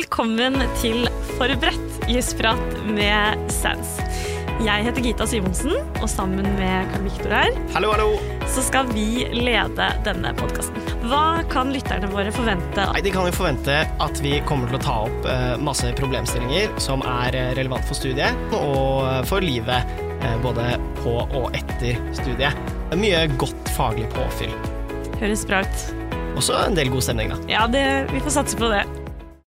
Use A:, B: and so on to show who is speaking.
A: Velkommen til Forberedt jusprat med saus. Jeg heter Gita Simonsen, og sammen med Karl Viktor her
B: Hallo, hallo!
A: så skal vi lede denne podkasten. Hva kan lytterne våre forvente?
B: Nei, De kan jo forvente at vi kommer til å ta opp eh, masse problemstillinger som er eh, relevant for studiet og eh, for livet, eh, både på og etter studiet. Det er Mye godt faglig påfyll.
A: Høres bra ut.
B: Også en del god stemning, da.
A: Ja, det, vi får satse på det.